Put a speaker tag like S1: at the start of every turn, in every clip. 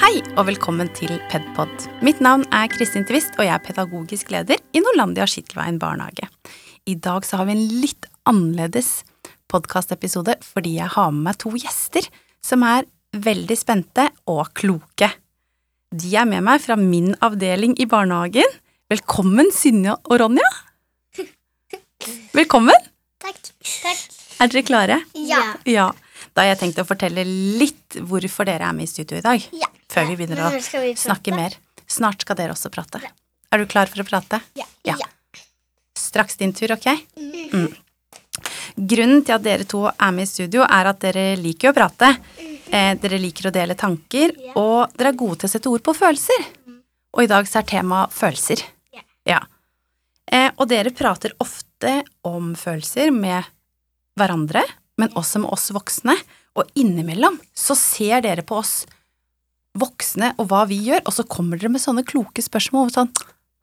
S1: Hei og velkommen til Pedpod. Mitt navn er Kristin Tvist, og jeg er pedagogisk leder i Norlandia Skittelveien barnehage. I dag så har vi en litt annerledes podkastepisode fordi jeg har med meg to gjester som er veldig spente og kloke. De er med meg fra min avdeling i barnehagen. Velkommen, Synja og Ronja. Velkommen.
S2: Takk. Takk.
S1: Er dere klare?
S2: Ja.
S1: Ja. Da har jeg tenkt å fortelle litt hvorfor dere er med i studio i dag.
S2: Ja.
S1: Før vi begynner å
S2: Når skal vi prate?
S1: snakke mer. Snart skal dere også prate. Er du klar for å prate?
S2: Ja.
S1: Ja. Straks din tur, ok? Mm. Grunnen til at dere to er med i studio, er at dere liker å prate. Eh, dere liker å dele tanker,
S2: Ja. Mm.
S1: og dere er gode til å sette ord på følelser. Og i dag så er temaet følelser.
S2: Ja.
S1: Ja. Eh, og dere prater ofte om følelser med hverandre, men også med oss voksne. Og innimellom så ser dere på oss voksne og hva vi gjør, og så kommer dere med sånne kloke spørsmål. Sånn,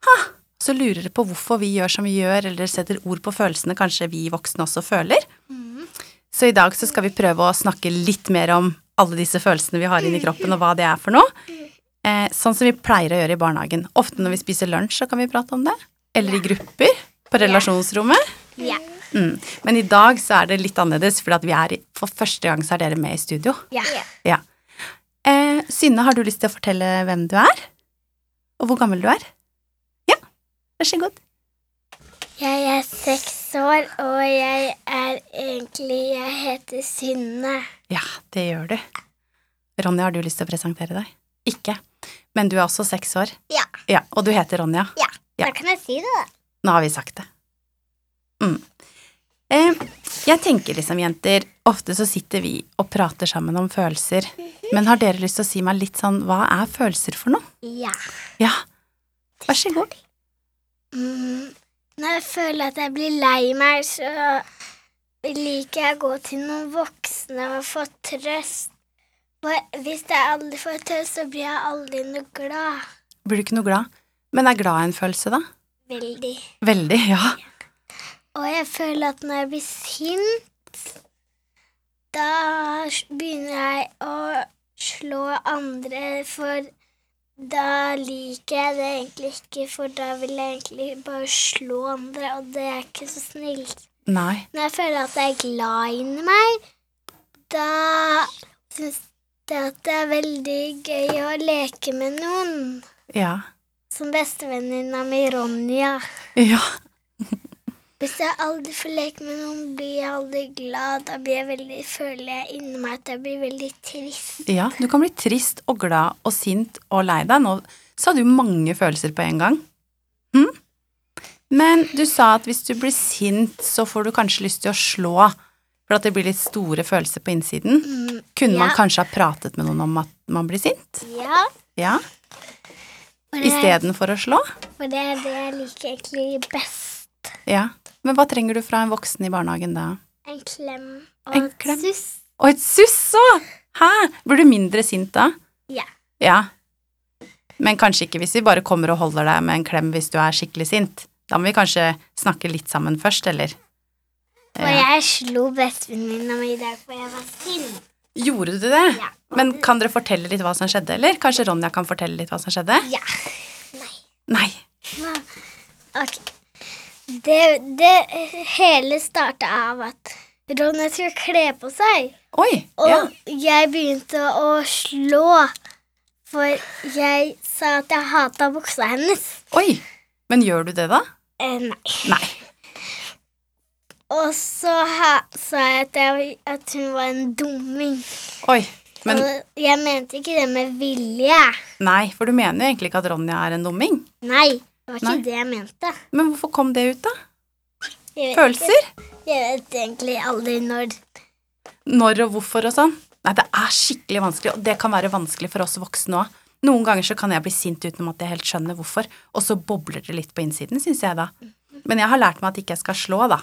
S1: ha! Så lurer dere på hvorfor vi gjør som vi gjør, eller setter ord på følelsene kanskje vi voksne også føler. Så i dag så skal vi prøve å snakke litt mer om alle disse følelsene vi har inni kroppen, og hva det er for noe. Eh, sånn som vi pleier å gjøre i barnehagen. Ofte når vi spiser lunsj, så kan vi prate om det. Eller i grupper. På relasjonsrommet.
S2: Ja.
S1: Mm. Men i dag så er det litt annerledes, for, at vi er, i- for første gang så er dere med i studio.
S2: Ja.
S1: Ja. Eh, Synne, har du lyst til å fortelle hvem du er? Og hvor gammel du er? Ja, vær så god.
S2: Jeg er seks år, og jeg er egentlig Jeg heter Synne.
S1: Ja, det gjør du. Ronja, har du lyst til å presentere deg? Ikke. Men du er også seks år.
S2: Ja.
S1: Ja, Og du heter Ronja. Ja.
S2: Da kan jeg si det, da.
S1: Nå har vi sagt det. Mm. Eh, jeg tenker liksom, jenter, ofte så sitter vi og prater sammen om følelser. Men har dere lyst til å si meg litt sånn, hva er følelser for noe?
S2: Ja.
S1: Ja, vær så god.
S2: Mm. Når jeg føler at jeg blir lei meg, så liker jeg å gå til noen voksne og få trøst. For hvis jeg aldri får trøst, så blir jeg aldri noe glad.
S1: Blir du ikke noe glad? Men er glad en følelse, da?
S2: Veldig.
S1: Veldig, ja.
S2: Og jeg føler at når jeg blir sint, da s- begynner jeg å slå andre, for da liker jeg det egentlig ikke, for da vil jeg egentlig bare slå andre, og det er ikke så snilt.
S1: Nei.
S2: Når jeg føler at jeg er glad inni meg, da syns jeg at det er veldig gøy å leke med noen.
S1: Ja.
S2: Som bestevenninna mi Ronja.
S1: Ja.
S2: Hvis jeg aldri får leke med noen, blir jeg aldri glad. Da blir jeg veldig, føler jeg inni meg at jeg blir veldig trist.
S1: ja. Du kan bli trist og glad og sint og lei deg. Nå sa du mange følelser på en gang. Hm? Men du sa at hvis du blir sint, så får du kanskje lyst til å slå. For at det blir litt store følelser på innsiden. Kunne man
S2: ja.
S1: kanskje ha pratet med noen om at man blir sint?
S2: Ja.
S1: Ja.
S2: For det,
S1: Istedenfor å slå?
S2: for det er det jeg liker egentlig best.
S1: Ja. Men hva trenger du fra en voksen i barnehagen da?
S2: En klem og
S1: En
S2: et
S1: klem?
S2: suss.
S1: Og et suss òg! Hæ? Blir du mindre sint da?
S2: Ja.
S1: Ja. Men kanskje ikke hvis vi bare kommer og holder deg med en klem hvis du er skikkelig sint. Da må vi kanskje snakke litt sammen først, eller?
S2: Og jeg slo bestevenninna mi i dag for jeg var sint.
S1: Gjorde du det?
S2: Ja.
S1: Men kan dere fortelle litt hva som skjedde, eller? Kanskje Ronja kan fortelle litt hva som skjedde?
S2: Ja.
S1: Nei.
S2: Ok. Det, det eh, hele starta av at Ronja skulle kle på seg.
S1: Oi.
S2: Og
S1: Ja.
S2: jeg begynte å slå, for jeg sa at jeg hata buksa hennes.
S1: Oi. Men gjør du det, da?
S2: Eh, nei.
S1: Nei.
S2: Og så ha, sa jeg at, jeg at hun var en dumming.
S1: Oi. Men
S2: Og jeg mente ikke det med vilje.
S1: nei, for du mener jo egentlig ikke at Ronja er en dumming.
S2: Nei, det var ikke
S1: Nei.
S2: det jeg mente.
S1: Men hvorfor kom det ut, da?
S2: Jeg vet,
S1: Følelser?
S2: ikke- jeg vet egentlig aldri når.
S1: når og hvorfor og sånn. Nei, det er skikkelig vanskelig, og det kan være vanskelig for oss voksne òg. Noen ganger så kan jeg bli sint uten at jeg helt skjønner hvorfor, og så bobler det litt på innsiden, syns jeg da. Men jeg har lært meg at ikke jeg skal slå, da.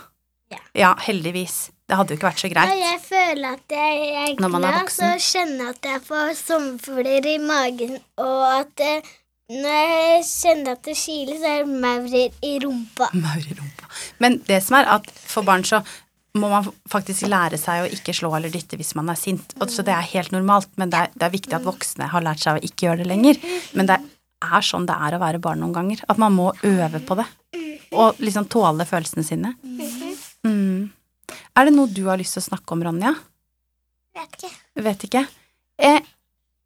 S2: Ja.
S1: heldigvis. Det hadde jo ikke vært så
S2: Når
S1: greit.
S2: jeg føler at jeg er
S1: Når man er
S2: glad, så
S1: voksen.
S2: kjenner jeg at jeg får sommerfugler i magen. Og at eh, når jeg kjenner at det kiler, så er det maurer i rumpa.
S1: Maur i rumpa. Men det som er at for barn så må man faktisk lære seg å ikke slå eller dytte hvis man er sint. Og Så det er helt normalt, men det er, det er viktig at voksne har lært seg å ikke gjøre det lenger. Men det er sånn det er å være barn noen ganger. At man må øve på det. Og liksom tåle følelsene sine. Mm. Er det noe du har lyst til å snakke om, Ronja?
S2: Vet ikke.
S1: Vet ikke. Eh,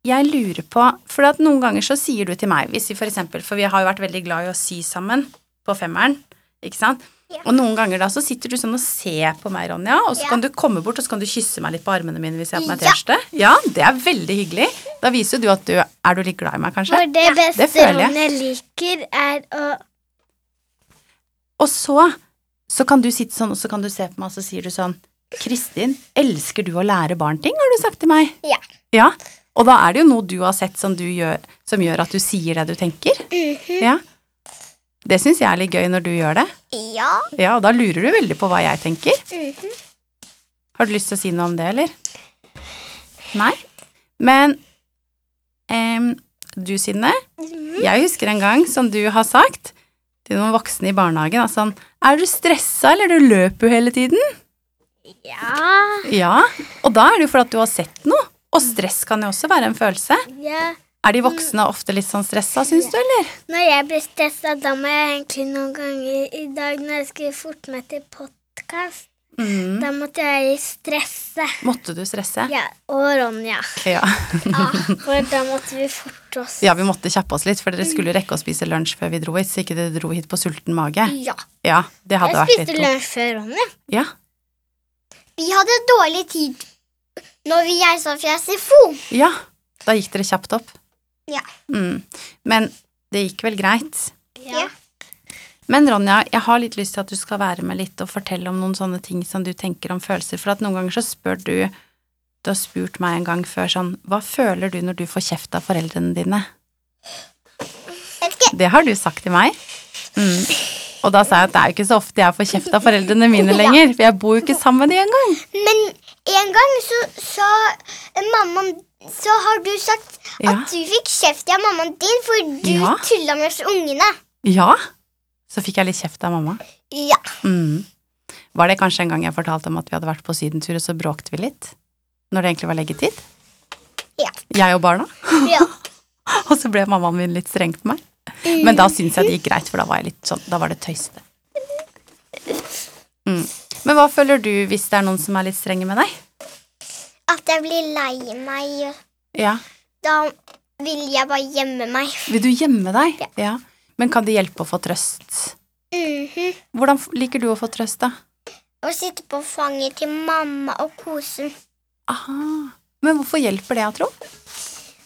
S1: jeg lurer på For at noen ganger så sier du til meg, hvis vi for eksempel For vi har jo vært veldig glad i å sy sammen på femmeren, ikke sant?
S2: Ja.
S1: Og noen ganger da så sitter du sånn og ser på meg, Ronja, og så
S2: Ja.
S1: kan du komme bort og så kan du kysse meg litt på armene mine hvis jeg har på meg
S2: Ja.
S1: T-skjorte. Ja. det er veldig hyggelig. Da viser jo du at du Er du litt glad i meg, kanskje?
S2: For det beste
S1: føler jeg.
S2: Ronja liker, er å
S1: Og så, så kan du sitte sånn, og så kan du se på meg, og så sier du sånn Kristin, elsker du å lære barn ting, har du sagt til meg.
S2: Ja.
S1: Ja, Og da er det jo noe du har sett som, du gjør, som gjør at du sier det du tenker. Ja. Det syns jeg er litt gøy når du gjør det.
S2: Ja.
S1: Ja, og da lurer du veldig på hva jeg tenker.
S2: Mhm.
S1: Har du lyst til å si noe om det, eller? Nei? Men em, du, Synne, jeg husker en gang som du har sagt til noen voksne i barnehagen at sånn Er du stressa, eller du løper jo hele tiden?
S2: Ja.
S1: Ja. Og da er det jo fordi at du har sett noe. Og stress kan jo også være en følelse.
S2: ja.
S1: Er de voksne ofte litt sånn stressa, syns du, eller?
S2: Når jeg blir stressa, da må jeg egentlig noen ganger i dag når jeg skulle forte meg til podkast,
S1: Mm.
S2: da måtte jeg stresse.
S1: Måtte du stresse?
S2: Ja, og Ronja.
S1: Ja.
S2: Ja, for da måtte vi forte oss.
S1: ja, vi måtte kjappe oss litt, for dere skulle rekke å spise lunsj før vi dro hit, så ikke dere dro hit på sulten mage.
S2: Ja.
S1: Ja, det hadde
S2: Jeg
S1: vært litt
S2: spiste
S1: dumt.
S2: lunsj før Ronja.
S1: Ja.
S2: Vi hadde dårlig tid når vi reiste fra SFO.
S1: ja. Da gikk dere kjapt opp.
S2: Ja.
S1: Mm. Men det gikk vel greit.
S2: Ja.
S1: Men Ronja, jeg har litt lyst til at du skal være med litt og fortelle om noen sånne ting som du tenker om følelser, for at noen ganger så spør du Du har spurt meg en gang før sånn Hva føler du når du får kjeft av foreldrene dine?
S2: Vet ikke.
S1: Det har du sagt til meg. Mm. Og da sa jeg at det er jo ikke så ofte jeg får kjeft av foreldrene mine lenger, for jeg bor jo ikke sammen med de engang.
S2: Men en gang så sa mammaen Så har du sagt at
S1: Ja.
S2: du fikk kjeft av mammaen din fordi du
S1: Ja.
S2: tulla med oss ungene.
S1: Ja. Så fikk jeg litt kjeft av mamma.
S2: Ja.
S1: Mm. Var det kanskje en gang jeg fortalte om at vi hadde vært på sydentur, og så bråkte vi litt? Når det egentlig var leggetid?
S2: Ja.
S1: Jeg og barna.
S2: ja.
S1: Og så ble mammaen min litt streng på meg. Men da syns jeg det gikk greit, for da var, jeg litt sånn, da var det tøysete. Mm. Men hva føler du hvis det er noen som er litt strenge med deg?
S2: At jeg blir lei meg.
S1: Ja.
S2: Da vil jeg bare gjemme meg.
S1: Vil du gjemme deg? Ja. Men kan det hjelpe å få trøst? Hvordan f- liker du å få trøst, da?
S2: Mhm. Og sitte på fanget til mamma og kose.
S1: Aha. Men hvorfor hjelper det, tro?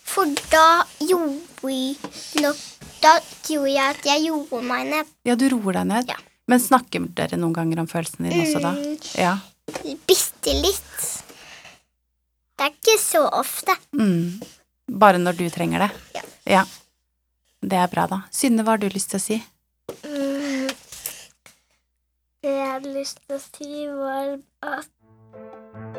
S2: For da gjorde, nok, da gjorde jeg at jeg gjorde meg ned
S1: Ja, du roer deg ned.
S2: Ja. Mm.
S1: Men snakker dere noen ganger om følelsene dine også da? Ja.
S2: bitte litt. Det er ikke så ofte.
S1: Mm. Bare når du trenger det?
S2: Ja.
S1: Det er bra, da. Synne, hva har du lyst til å si?
S2: Det jeg hadde lyst til å si, var at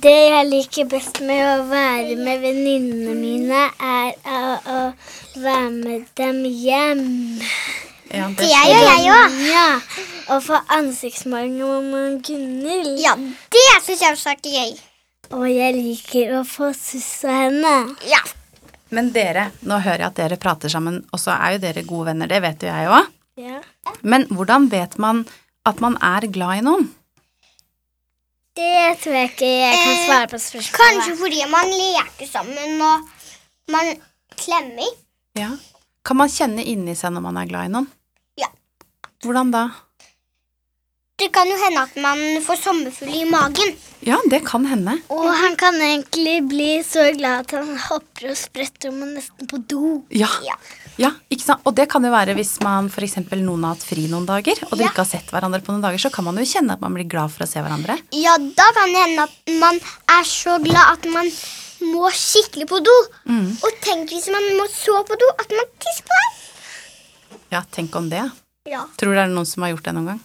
S2: det jeg liker best med å være med venninnene mine, er å, å være med dem hjem.
S1: Ja,
S3: Det gjør jeg òg.
S2: Ja, og få ansiktsmaling med Gunhild.
S3: Ja, det syns jeg også er gøy.
S2: Og jeg liker å få suss av henne.
S3: Ja.
S1: Men dere, nå hører jeg at dere prater sammen, og så er jo dere gode venner, det vet jo jeg òg.
S2: Ja.
S1: Men hvordan vet man at man er glad i noen?
S2: Det tror jeg ikke jeg kan
S3: Eh,
S2: svare på spørsmålet.
S3: Kanskje fordi man leker sammen og man klemmer.
S1: Ja. Kan man kjenne inni seg når man er glad i noen?
S3: Ja.
S1: Hvordan da?
S3: Det kan jo hende at man får sommerfugl i magen.
S1: Ja, det kan hende.
S2: Og han kan egentlig bli så glad at han hopper og spretter om og nesten på do.
S1: Ja.
S3: Ja.
S1: Ja, ikke sant? Og det kan jo være hvis man for eksempel noen har hatt fri noen dager, og dere
S3: Ja.
S1: ikke har sett hverandre på noen dager, så kan man jo kjenne at man blir glad for å se hverandre.
S3: Ja, da kan det hende at man er så glad at man må skikkelig på do. Og tenk hvis man må så på do at man tisser på deg.
S1: Ja, tenk om det.
S3: Ja.
S1: Tror du det er noen som har gjort det noen gang?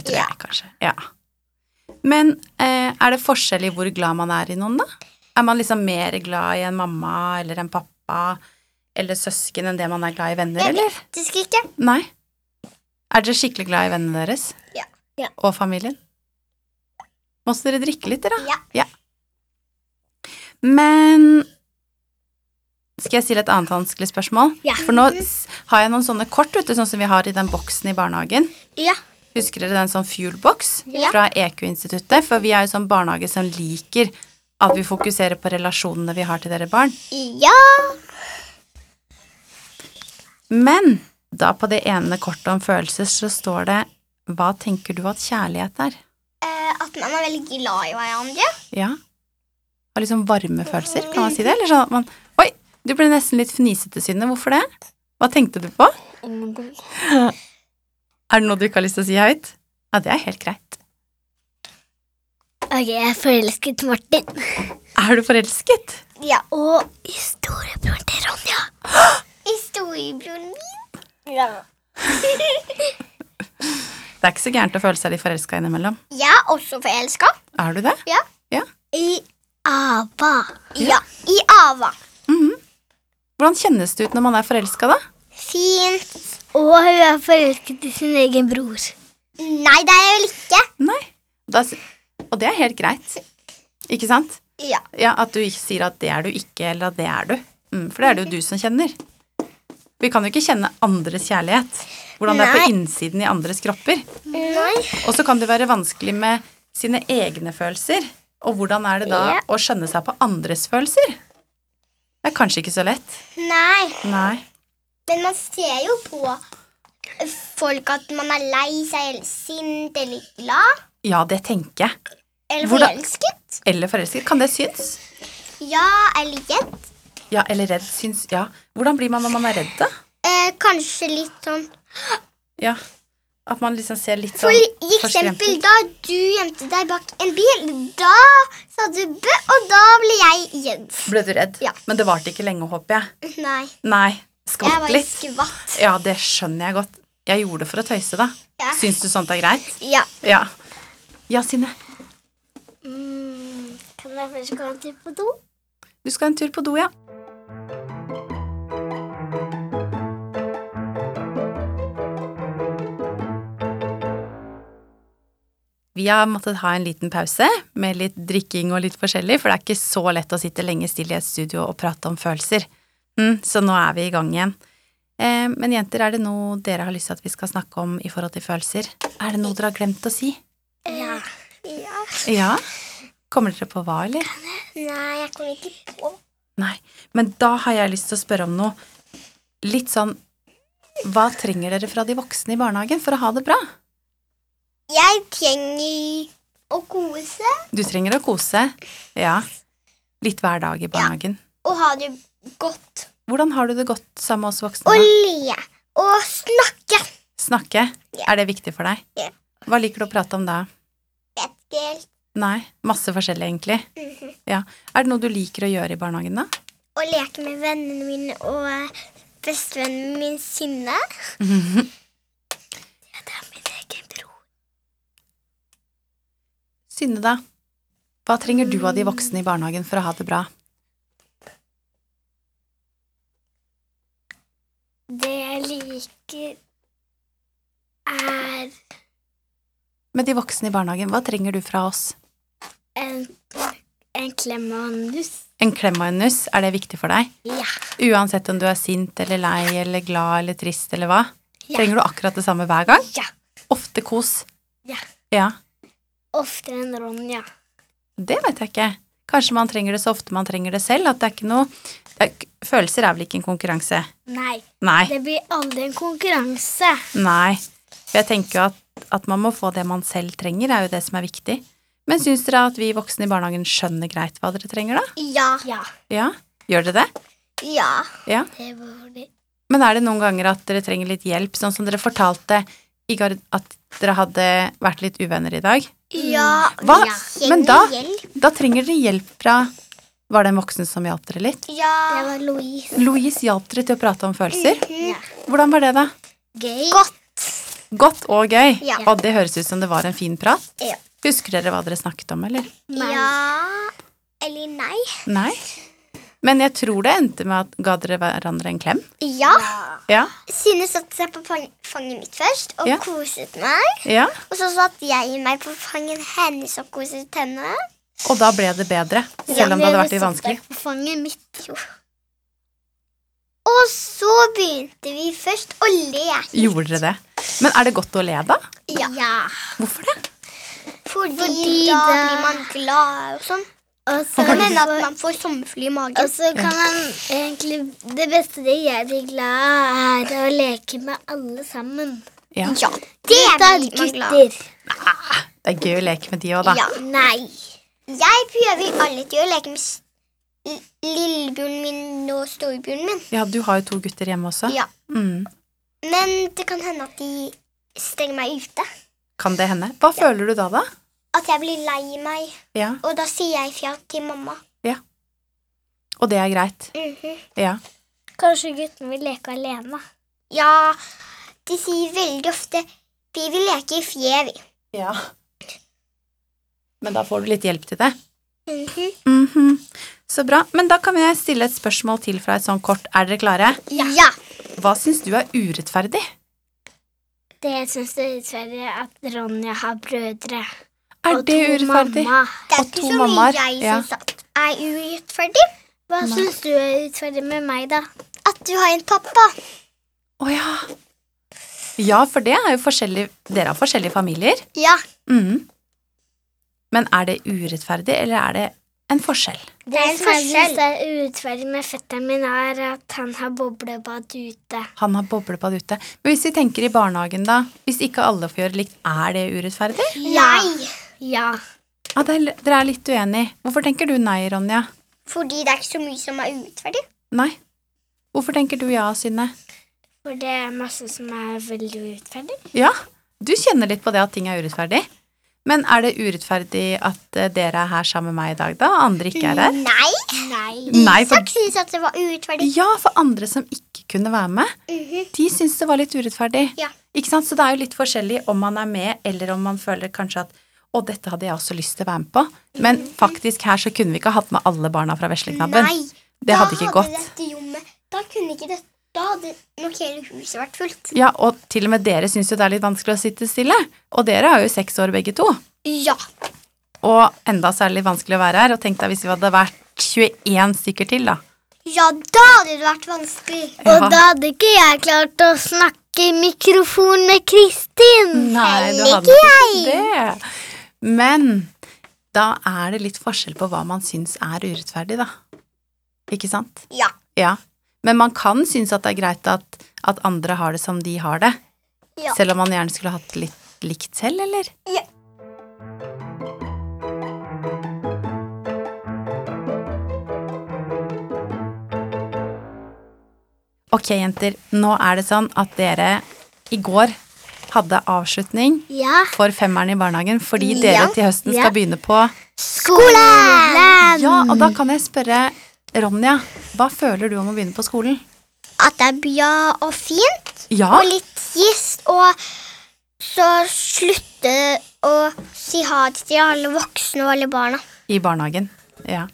S1: Det tror
S3: Ja.
S1: jeg kanskje. Ja. Men eh, er det forskjell i hvor glad man er i noen, da? Er man liksom mer glad i en mamma eller en pappa eller søsken enn det man er glad i venner,
S2: Jeg
S1: eller?
S2: vet faktisk ikke.
S1: Nei. Er dere skikkelig glad i vennene deres?
S2: Ja. Ja.
S1: Og familien? Må også dere drikke litt, dere?
S2: Ja.
S1: Men skal jeg stille et annet vanskelig spørsmål?
S2: Ja.
S1: For nå s- har jeg noen sånne kort, vet du, sånn som vi har i den boksen i barnehagen.
S2: Ja.
S1: Husker dere den sånn fuel-boks
S2: Ja.
S1: fra EQ-instituttet? For vi er jo sånn barnehage som liker at vi fokuserer på relasjonene vi har til dere barn.
S2: Ja.
S1: Men da på det ene kortet om følelser så står det Hva tenker du at kjærlighet er?
S2: Eh, at man er veldig glad i hverandre.
S1: Ja. Og liksom varme følelser, kan man si det? Eller sånn at man Oi, du ble nesten litt fnisete, Synne. Hvorfor det? Hva tenkte du på? Er det noe du ikke har lyst til å si høyt? Ja, det er helt greit.
S3: Ok, jeg er forelsket Martin.
S1: Er du forelsket?
S2: Ja. Og
S3: Storebror til Ronja.
S2: historiebroren min.
S1: Det er ikke så gærent å føle seg litt forelska innimellom.
S2: Jeg er også forelska.
S1: Er du det?
S2: Ja.
S1: Ja.
S2: I
S3: Ava.
S2: Ja, i Ava.
S1: Hvordan kjennes det ut når man er forelska, da?
S2: Fint.
S3: Og hun er forelsket i sin egen bror.
S2: Nei, det er jeg vel ikke.
S1: Nei. Da, s- og det er helt greit. Ikke sant?
S2: Ja.
S1: Ja, At du ikke sier at det er du ikke, eller at det er du. Mm, for det er det jo du som kjenner. Vi kan jo ikke kjenne andres kjærlighet. Hvordan det er
S2: Nei.
S1: på innsiden i andres kropper.
S2: Nei.
S1: Og så kan det være vanskelig med sine egne følelser. Og hvordan er det da
S2: Ja.
S1: å skjønne seg på andres følelser? Det er kanskje ikke så lett.
S2: Nei.
S1: Nei.
S2: Men man ser jo på folk at man er lei seg eller sint eller glad
S1: Ja, det tenker jeg.
S2: eller
S1: Hvordan-
S2: forelsket.
S1: Eller forelsket. Kan det synes?
S2: Ja, eller gjett.
S1: Ja, eller redd syns Ja. Hvordan blir man når man er redd, da?
S2: Eh, kanskje litt sånn
S1: Ja. At man liksom ser litt
S2: For
S1: sånn forskremt
S2: eksempel
S1: ut.
S2: da du gjemte deg bak en bil, da sa du bø, og da ble jeg redd.
S1: Ble du redd?
S2: Ja.
S1: Men det varte ikke lenge, håper jeg.
S2: Nei,
S1: Nei.
S2: jeg
S1: Skvatt
S2: var
S1: litt.
S2: skvatt.
S1: Ja, det skjønner jeg godt. Jeg gjorde det for å tøyse, da.
S2: Ja.
S1: Syns du sånt er greit?
S2: Ja.
S1: Ja. Ja, Sinne.
S2: Mm,
S3: Kan jeg først gå en tur på do?
S1: Du skal en tur på do, ja. Vi har måttet ha en liten pause med litt drikking og litt forskjellig, for det er ikke så lett å sitte lenge stille i et studio og prate om følelser. Mm, så nå er vi i gang igjen. Eh, men jenter, er det noe dere har lyst til at vi skal snakke om i forhold til følelser? Er det noe dere har glemt å si?
S2: Ja. Eh, ja.
S1: Ja? Kommer dere på hva, eller?
S2: Nei, jeg kom ikke på.
S1: Nei, men da har jeg lyst til å spørre om noe litt sånn Hva trenger dere fra de voksne i barnehagen for å ha det bra?
S2: Jeg trenger å kose
S1: Du trenger å kose. Ja. Litt hver dag i barnehagen.
S2: og ha det godt.
S1: Hvordan har du det godt sammen med oss voksne?
S2: Og
S1: da?
S2: le og snakke.
S1: Snakke.
S2: Ja.
S1: Er det viktig for deg?
S2: Ja.
S1: Hva liker du å prate om da?
S2: Vet ikke helt.
S1: Nei, masse forskjellig egentlig.
S2: Mhm.
S1: Ja. Er det noe du liker å gjøre i barnehagen, da?
S2: Å leke med vennene mine og bestevennen min Synne. Det er min egen bror.
S1: Synne, da? Hva trenger du av de voksne i barnehagen for å ha det bra?
S3: Det jeg liker, er
S1: Med de voksne i barnehagen, hva trenger du fra oss?
S3: en, en klem og en nuss.
S1: En klem og en nuss, er det viktig for deg?
S3: Ja.
S1: Uansett om du er sint eller lei eller glad eller trist eller hva?
S3: Ja.
S1: Trenger du akkurat det samme hver gang?
S3: Ja.
S1: Ofte kos.
S3: Ja.
S1: Ja,
S3: Oftere enn Ronja.
S1: det vet jeg ikke. Kanskje man trenger det så ofte man trenger det selv, at det er ikke noe det er, ikke- Følelser er vel ikke en konkurranse?
S3: Nei,
S1: Nei.
S3: det blir aldri en konkurranse.
S1: Nei. For jeg tenker jo at, at man må få det man selv trenger, er jo det som er viktig. Men syns dere at vi voksne i barnehagen skjønner greit hva dere trenger, da?
S2: Ja.
S3: Ja.
S1: Ja? Gjør dere det?
S2: Ja.
S1: Ja?
S3: Det var det.
S1: Men er det noen ganger at dere trenger litt hjelp, sånn som dere fortalte i gar at dere hadde vært litt uvenner i dag?
S2: Ja.
S1: Hva?
S2: vi trenger
S1: Men da-
S2: hjelp.
S1: Da trenger dere hjelp fra Var det en voksen som hjalp dere litt?
S2: Ja.
S3: Det var Louise.
S1: Louise hjalp dere til å prate om følelser.
S2: Mhm.
S1: Hvordan var det, da?
S3: Gøy.
S2: Godt.
S1: Godt og gøy.
S2: Ja.
S1: Og det høres ut som det var en fin prat.
S2: Ja.
S1: Husker dere hva dere snakket om, eller?
S3: Nei.
S2: Ja. Eller nei.
S1: Nei. Men jeg tror det endte med at ga dere hverandre en klem.
S2: Ja.
S1: Ja.
S2: Synne satte seg på fang- fanget mitt først og
S1: Ja.
S2: koset meg.
S1: ja.
S2: Og så satte jeg meg på fanget hennes og koset henne.
S1: Og da ble det bedre, selv om det hadde vært litt vanskelig.
S2: På fanget mitt, jo. Og så begynte vi først å le.
S1: Gjorde dere det? Men er det godt å le, da?
S2: Ja.
S1: Hvorfor det?
S2: Fordi,
S3: Fordi
S2: da
S3: da-
S2: blir man glad og sånn.
S3: Og så,
S2: Så kan hende at man får sommerfugl i magen.
S3: og så kan man egentlig Det beste det gjør deg glad, er å leke med alle sammen.
S1: Ja.
S2: ja, det
S3: Da,
S2: blir man glad av.
S3: gutter.
S1: Det er gøy å leke med de òg, da.
S2: Ja.
S3: Nei.
S2: Jeg prøver alltid å leke med s- l- lillebjørnen min og storebjørnen min.
S1: Ja, du har jo to gutter hjemme også.
S2: Ja.
S1: Mm.
S2: Men det kan hende at de stenger meg ute.
S1: Kan det hende? Hva føler du da, da?
S2: At jeg blir lei meg.
S1: Ja.
S2: Og da sier jeg ifra til mamma. Mhm.
S1: Og det er greit. Ja.
S3: Kanskje guttene vil leke alene.
S2: Ja, de sier veldig ofte Vi vil leke i fje, vi.
S1: ja. Men da får du litt hjelp til det.
S2: Mhm.
S1: Mhm. Så bra. Men da kan jeg stille et spørsmål til fra et sånt kort. Er dere klare?
S2: Ja.
S1: Hva syns du er urettferdig?
S3: Det syns jeg dessverre at Ronja har brødre.
S1: Er det urettferdig?
S2: Det er
S1: Og
S2: ikke
S1: to
S2: så
S1: mammaer,
S2: mye jeg
S1: ja.
S2: syns at er urettferdig.
S3: Hva
S1: Nei.
S3: syns du er urettferdig med meg, da?
S2: At du har en pappa.
S1: Å ja. Ja, for det er jo forskjellig Dere har forskjellige familier.
S2: Ja.
S1: Mhm. Men er det urettferdig, eller er det en forskjell?
S3: Det
S2: er en
S3: som jeg
S2: forskjell.
S3: synes er urettferdig med fetteren min, er at han har boblebad ute.
S1: Han har boblebad ute. Men hvis vi tenker i barnehagen, da. Hvis ikke alle får gjøre likt, er det urettferdig?
S2: Nei.
S3: Ja.
S1: Ja, det er, dere er litt uenige. Hvorfor tenker du nei, Ronja?
S2: Fordi det er ikke så mye som er urettferdig.
S1: Nei. Hvorfor tenker du ja, Synne?
S3: For det er masse som er veldig urettferdig.
S1: Ja, du kjenner litt på det at ting er urettferdig. Men er det urettferdig at eh, dere er her sammen med meg i dag, da? og Andre ikke er her?
S2: Nei.
S3: Nei.
S1: Nei, for,
S2: Isak syns at det var urettferdig.
S1: ja, for andre som ikke kunne være med, de syns det var litt urettferdig.
S2: Mhm. Ja.
S1: Ikke sant? Så det er jo litt forskjellig om man er med, eller om man føler kanskje at å, dette hadde jeg også lyst til å være med på. Men faktisk her så kunne vi ikke hatt med alle barna fra Vesleknabben.
S2: Mhm. Nei.
S1: Det hadde ikke
S2: da
S1: gått.
S2: Hadde dette rommet, da kunne ikke det Da hadde nok hele huset vært fullt.
S1: Ja, og til og med dere syns jo det er litt vanskelig å sitte stille. Og dere er jo seks år begge to.
S2: Ja.
S1: Og enda så er det litt vanskelig å være her. Og tenk deg hvis vi hadde vært 21 stykker til, da.
S2: Ja, da hadde det vært vanskelig.
S1: Ja.
S3: Og da hadde ikke jeg klart å snakke i mikrofon med Kristin.
S1: Nei, du
S2: Heller
S1: hadde ikke det. Men da er det litt forskjell på hva man syns er urettferdig, da. Ikke sant?
S2: Ja.
S1: Ja. Men man kan synes at det er greit at, at andre har det som de har det.
S2: Ja.
S1: Selv om man gjerne skulle hatt det litt likt selv, eller?
S2: Ja.
S1: Ok, jenter. Nå er det sånn at dere i går hadde avslutning
S3: Ja.
S1: for femmeren i barnehagen fordi
S2: Ja.
S1: dere til høsten skal
S3: Ja.
S1: begynne på
S2: Skolen!
S1: Ja, og da kan jeg spørre Ronja, hva føler du om å begynne på skolen?
S2: At det er bra og fint,
S1: Ja,
S2: og litt trist, og så slutte å si ha det til alle voksne og alle barna.
S1: i barnehagen. Ja.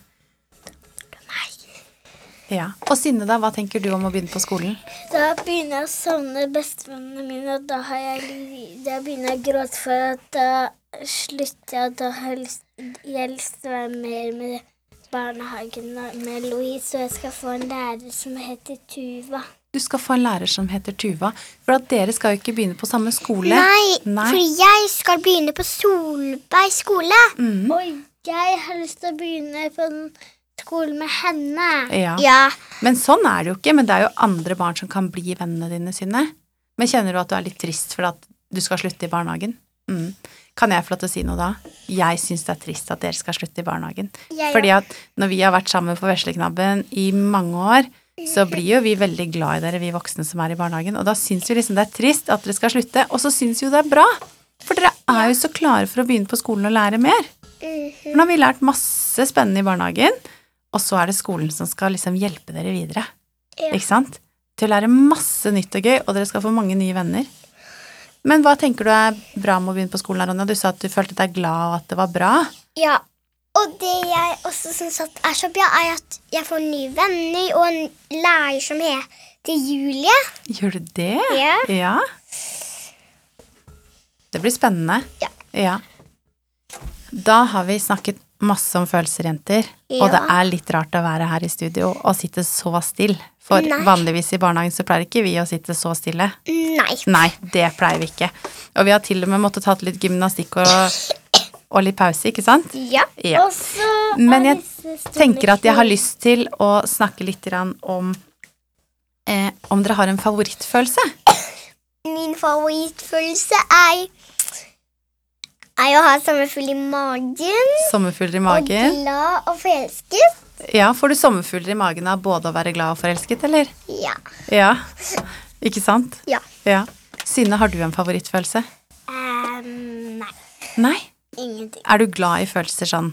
S1: ja. Og Synne, da, hva tenker du om å begynne på skolen?
S3: Da begynner jeg å savne bestevennene mine, og da, har jeg, li- da begynner jeg å gråte for at da slutter jeg, og da har jeg lyst, jeg har lyst til å være mer med barnehagen og med Louise, og jeg skal få en lærer som heter Tuva.
S1: Du skal få en lærer som heter Tuva, for at dere skal jo ikke begynne på samme skole.
S2: Nei,
S1: Nei.
S2: for jeg skal begynne på Solberg skole.
S3: Og jeg har lyst til å begynne på en skole med henne.
S1: Ja.
S2: Ja.
S1: Men sånn er det jo ikke. Men det er jo andre barn som kan bli vennene dine, Synne. Men kjenner du at du er litt trist for at du skal slutte i barnehagen? Mm. Kan jeg få lov til å si noe da? Jeg syns det er trist at dere skal slutte i barnehagen.
S2: Jeg
S1: Fordi at når vi har vært sammen på Vesleknabben i mange år, så blir jo vi veldig glad i dere, vi voksne som er i barnehagen. Og da syns vi liksom det er trist at dere skal slutte, og så syns vi jo det er bra. For dere er jo så klare for å begynne på skolen og lære mer. For nå har vi lært masse spennende i barnehagen, og så er det skolen som skal liksom hjelpe dere videre.
S3: Ja.
S1: Ikke sant? Til å lære masse nytt og gøy, og dere skal få mange nye venner. Men hva tenker du er bra med å begynne på skolen, Ronja? Du sa at du følte deg glad og at det var bra.
S2: Ja, Og det jeg også syns at er så bra, er at jeg får nye venner og en lærer som heter Julie.
S1: Gjør du det?
S2: Ja.
S1: Ja. Det blir spennende.
S2: Ja.
S1: Ja. Da har vi snakket masse om følelser, jenter. Og det
S2: Ja.
S1: er litt rart å være her i studio og sitte så stille. For
S2: Nei.
S1: vanligvis i barnehagen så pleier ikke vi å sitte så stille.
S2: Nei.
S1: Nei, det pleier vi ikke. Og vi har til og med måttet tatt litt gymnastikk og, og litt pause, ikke sant?
S2: Ja.
S1: Ja.
S3: Og så er
S1: Men jeg
S3: disse stundene
S1: tenker at jeg har
S3: fine.
S1: lyst til å snakke litt grann om eh, om dere har en favorittfølelse.
S2: Min favorittfølelse er, er å ha sommerfugl i magen.
S1: Sommerfugler i
S2: Og
S1: magen.
S2: glad og forelsket.
S1: Ja, Får du sommerfugler i magen av både å være glad og forelsket, eller?
S2: Ja.
S1: Ja. Ikke sant?
S2: Ja.
S1: Ja. Synne, har du en favorittfølelse?
S2: Ehm, nei.
S1: Nei.
S2: Ingenting.
S1: Er du glad i følelser sånn?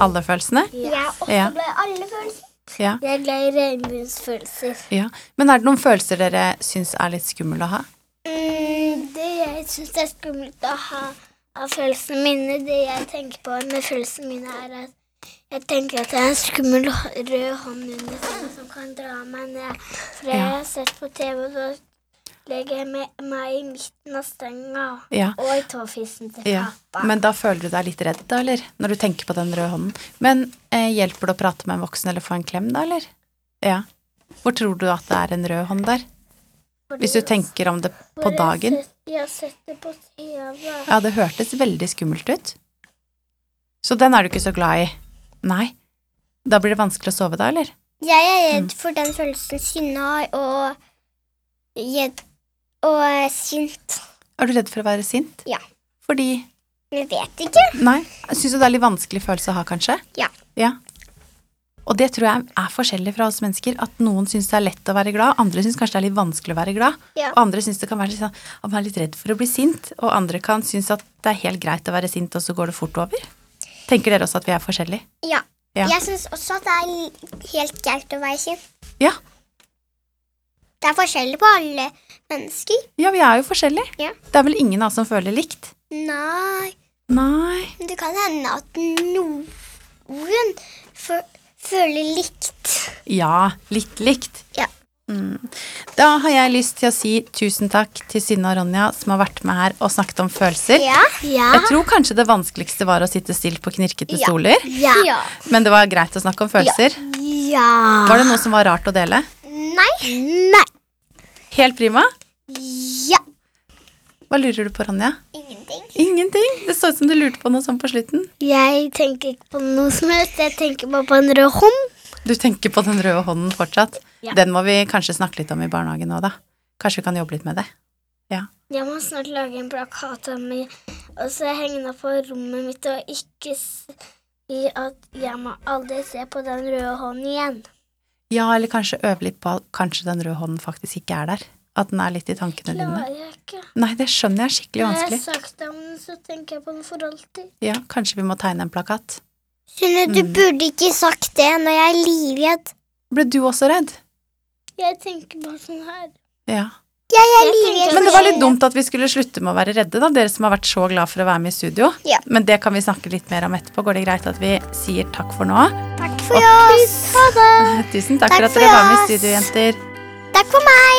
S1: Alle følelsene?
S2: Jeg er også
S1: Ja.
S2: glad i alle følelser.
S1: Ja.
S3: Jeg er glad i regnbuens følelser.
S1: ja. Men er det noen følelser dere syns er litt skumle å ha?
S3: Mm,
S2: Det jeg syns er skummelt å ha
S3: av følelsene mine, det jeg tenker på med følelsene mine, er at jeg tenker at jeg har en skummel hå- rød hånd under senga som kan dra meg ned. For jeg
S1: Ja.
S3: har sett på TV, og da legger jeg me- meg i midten av senga
S1: Ja.
S3: og i tåfissen til
S1: Ja,
S3: pappa.
S1: Men da føler du deg litt redd, da, eller? Når du tenker på den røde hånden. Men eh, hjelper det å prate med en voksen eller få en klem, da, eller? Ja. Hvor tror du at det er en rød hånd der?
S3: Fordi-
S1: Hvis du tenker om det på
S3: for jeg har
S1: dagen.
S3: sett- Jeg har sett det på TV.
S1: Ja, det hørtes veldig skummelt ut. Så den er du ikke så glad i? Nei. Da blir det vanskelig å sove, da, eller?
S2: Jeg er redd for den følelsen Synne har, og redd og sint.
S1: Er du redd for å være sint?
S2: Ja.
S1: Fordi
S2: Jeg vet ikke.
S1: Nei. Syns du det er litt vanskelig følelse å ha, kanskje?
S2: Ja.
S1: ja. Og det tror jeg er forskjellig fra oss mennesker. At noen syns det er lett å være glad, andre syns kanskje det er litt vanskelig å være glad.
S2: Ja.
S1: Og andre syns det kan være litt sånn at man er litt redd for å bli sint. Og andre kan synes at det er helt greit å være sint, og så går det fort over. Tenker dere også at vi er forskjellige?
S2: Ja.
S1: Ja.
S2: Jeg syns også at det er l- helt greit å være sint.
S1: Ja.
S2: Det er forskjell på alle mennesker.
S1: Ja, vi er jo forskjellige.
S2: Ja.
S1: Det er vel ingen av oss som føler likt?
S2: Nei,
S1: Nei.
S2: men det kan hende at noen fø- føler likt.
S1: Ja, litt likt.
S2: Ja.
S1: Mm. Da har jeg lyst til å si tusen takk til Synne og Ronja som har vært med her og snakket om følelser.
S2: Ja.
S3: Ja.
S1: Jeg tror kanskje det vanskeligste var å sitte stille på knirkete
S2: Ja.
S1: stoler.
S3: Ja.
S2: Ja.
S1: Men det var greit å snakke om følelser.
S3: ja.
S1: Var det noe som var rart å dele?
S2: Nei.
S3: Nei.
S1: Helt prima.
S2: Ja.
S1: Hva lurer du på, Ronja?
S2: Ingenting.
S1: Ingenting. Det så ut som du lurte på noe sånn på slutten.
S3: Jeg tenker ikke på noe som helst. Jeg tenker bare på en rød hånd.
S1: Du tenker på den røde hånden fortsatt.
S3: Ja.
S1: Den må vi kanskje snakke litt om i barnehagen nå, da. Kanskje vi kan jobbe litt med det.
S3: Jeg må snart lage en plakat av meg, og så henge den opp på rommet mitt, og ikke si at jeg må aldri se på den røde hånden igjen.
S1: Ja, eller kanskje øve litt på at kanskje den røde hånden faktisk ikke er der. At den er litt i tankene dine.
S3: Klarer jeg ikke.
S1: Nei, det skjønner jeg er skikkelig
S3: Når jeg har
S1: vanskelig.
S3: sagt om den, så tenker jeg på den for alltid.
S1: Ja, kanskje vi må tegne en plakat.
S2: Synne, du
S1: Mm.
S2: burde ikke sagt det når jeg er livredd.
S1: Ble du også redd?
S3: Jeg tenker bare sånn her.
S1: Ja.
S2: Jeg er
S3: Jeg
S2: livredd.
S3: tenker-
S1: Men det var litt dumt at vi skulle slutte med å være redde, da, dere som har vært så glad for å være med i studio.
S2: Ja.
S1: Men det kan vi snakke litt mer om etterpå. Går det greit at vi sier takk for nå?
S2: Takk for oss. Ha det.
S1: Tusen takk,
S2: Ah, Takk
S1: for at
S2: for
S1: dere var med i
S2: oss.
S1: studio, jenter.
S2: Takk for meg.